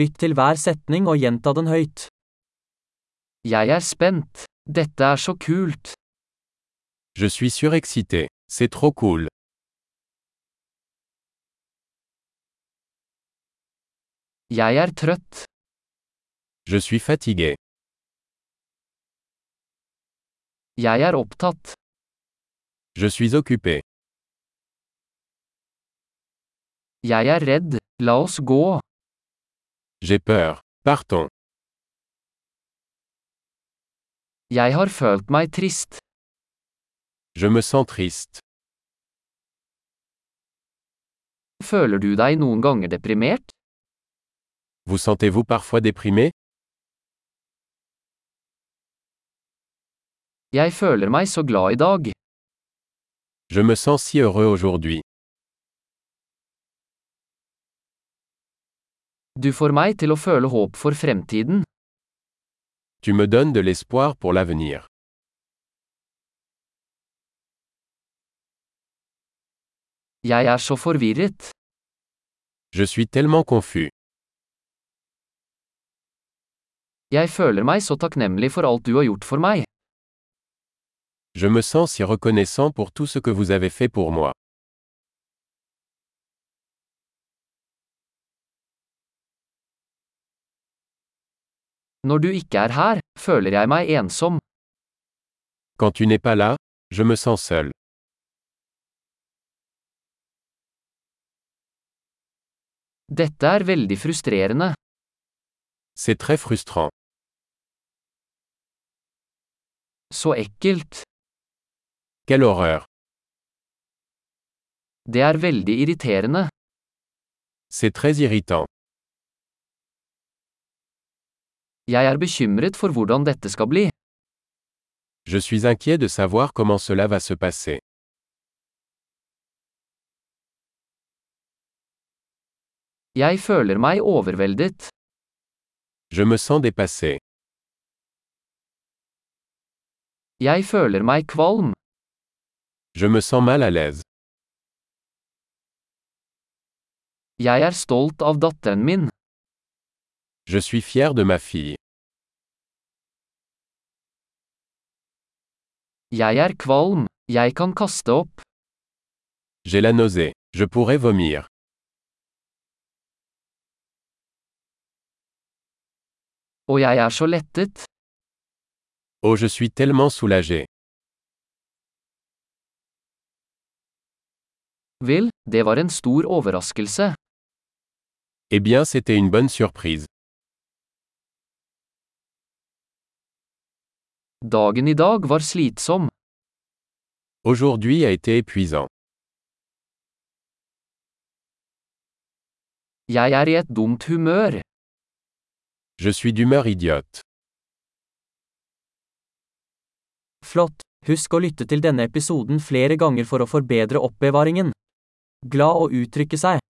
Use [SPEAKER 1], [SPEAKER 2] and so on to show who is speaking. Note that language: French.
[SPEAKER 1] Lytt til hver setning og gjenta den høyt. Jeg er spent. Dette er så kult.
[SPEAKER 2] Je suis surexcité. C'est trop cool.
[SPEAKER 1] Jeg er trøtt.
[SPEAKER 2] Je suis fatigué.
[SPEAKER 1] Jeg er opptatt.
[SPEAKER 2] Je suis occupé.
[SPEAKER 1] Jeg er redd. La oss gå.
[SPEAKER 2] J'ai peur. Partons.
[SPEAKER 1] Jeg har følt meg trist.
[SPEAKER 2] Je me sens triste.
[SPEAKER 1] Føler du deg noen ganger deprimert?
[SPEAKER 2] Vous sentez-vous parfois déprimé
[SPEAKER 1] Jeg føler meg så glad i dag.
[SPEAKER 2] Je me sens si heureux aujourd'hui.
[SPEAKER 1] Du får meg til å føle håp for fremtiden.
[SPEAKER 2] Tu me donnes de l'espoir pour l'avenir.
[SPEAKER 1] Jeg er så forvirret.
[SPEAKER 2] Je suis tellement confus.
[SPEAKER 1] Jeg føler meg så takknemlig for alt du har gjort for meg.
[SPEAKER 2] Je me sens si reconnaissant pour tout ce que vous avez fait pour moi.
[SPEAKER 1] Når du ikke er her, føler jeg meg ensom.
[SPEAKER 2] Quand tu n'es pas là, je me sens seul.
[SPEAKER 1] Dette er veldig frustrerende.
[SPEAKER 2] C'est très frustrant.
[SPEAKER 1] Så ekkelt.
[SPEAKER 2] Quelle horreur.
[SPEAKER 1] Det er veldig irriterende.
[SPEAKER 2] C'est très irritant.
[SPEAKER 1] Jeg er bekymret for hvordan dette skal bli.
[SPEAKER 2] Je suis inquiet de savoir comment cela va se passer.
[SPEAKER 1] Jeg føler meg overveldet.
[SPEAKER 2] Je me sens dépassé.
[SPEAKER 1] Jeg føler meg kvalm.
[SPEAKER 2] Je me sens mal à l'aise.
[SPEAKER 1] Jeg er stolt av datteren min.
[SPEAKER 2] Je suis fier de ma fille.
[SPEAKER 1] Jeg er kvalm. Jeg kan kaste opp.
[SPEAKER 2] J'ai la nausée. Je pourrais vomir.
[SPEAKER 1] Og jeg er så lettet.
[SPEAKER 2] Oh, je suis tellement soulagé.
[SPEAKER 1] Vel, det var en stor overraskelse.
[SPEAKER 2] Eh bien, c'était une bonne surprise.
[SPEAKER 1] Dagen i dag var slitsom.
[SPEAKER 2] Aujourd'hui a été épuisant.
[SPEAKER 1] Jeg er i et dumt humør.
[SPEAKER 2] Je suis d'humeur idiote.
[SPEAKER 1] Flott! Husk å lytte til denne episoden flere ganger for å forbedre oppbevaringen. Glad å uttrykke seg.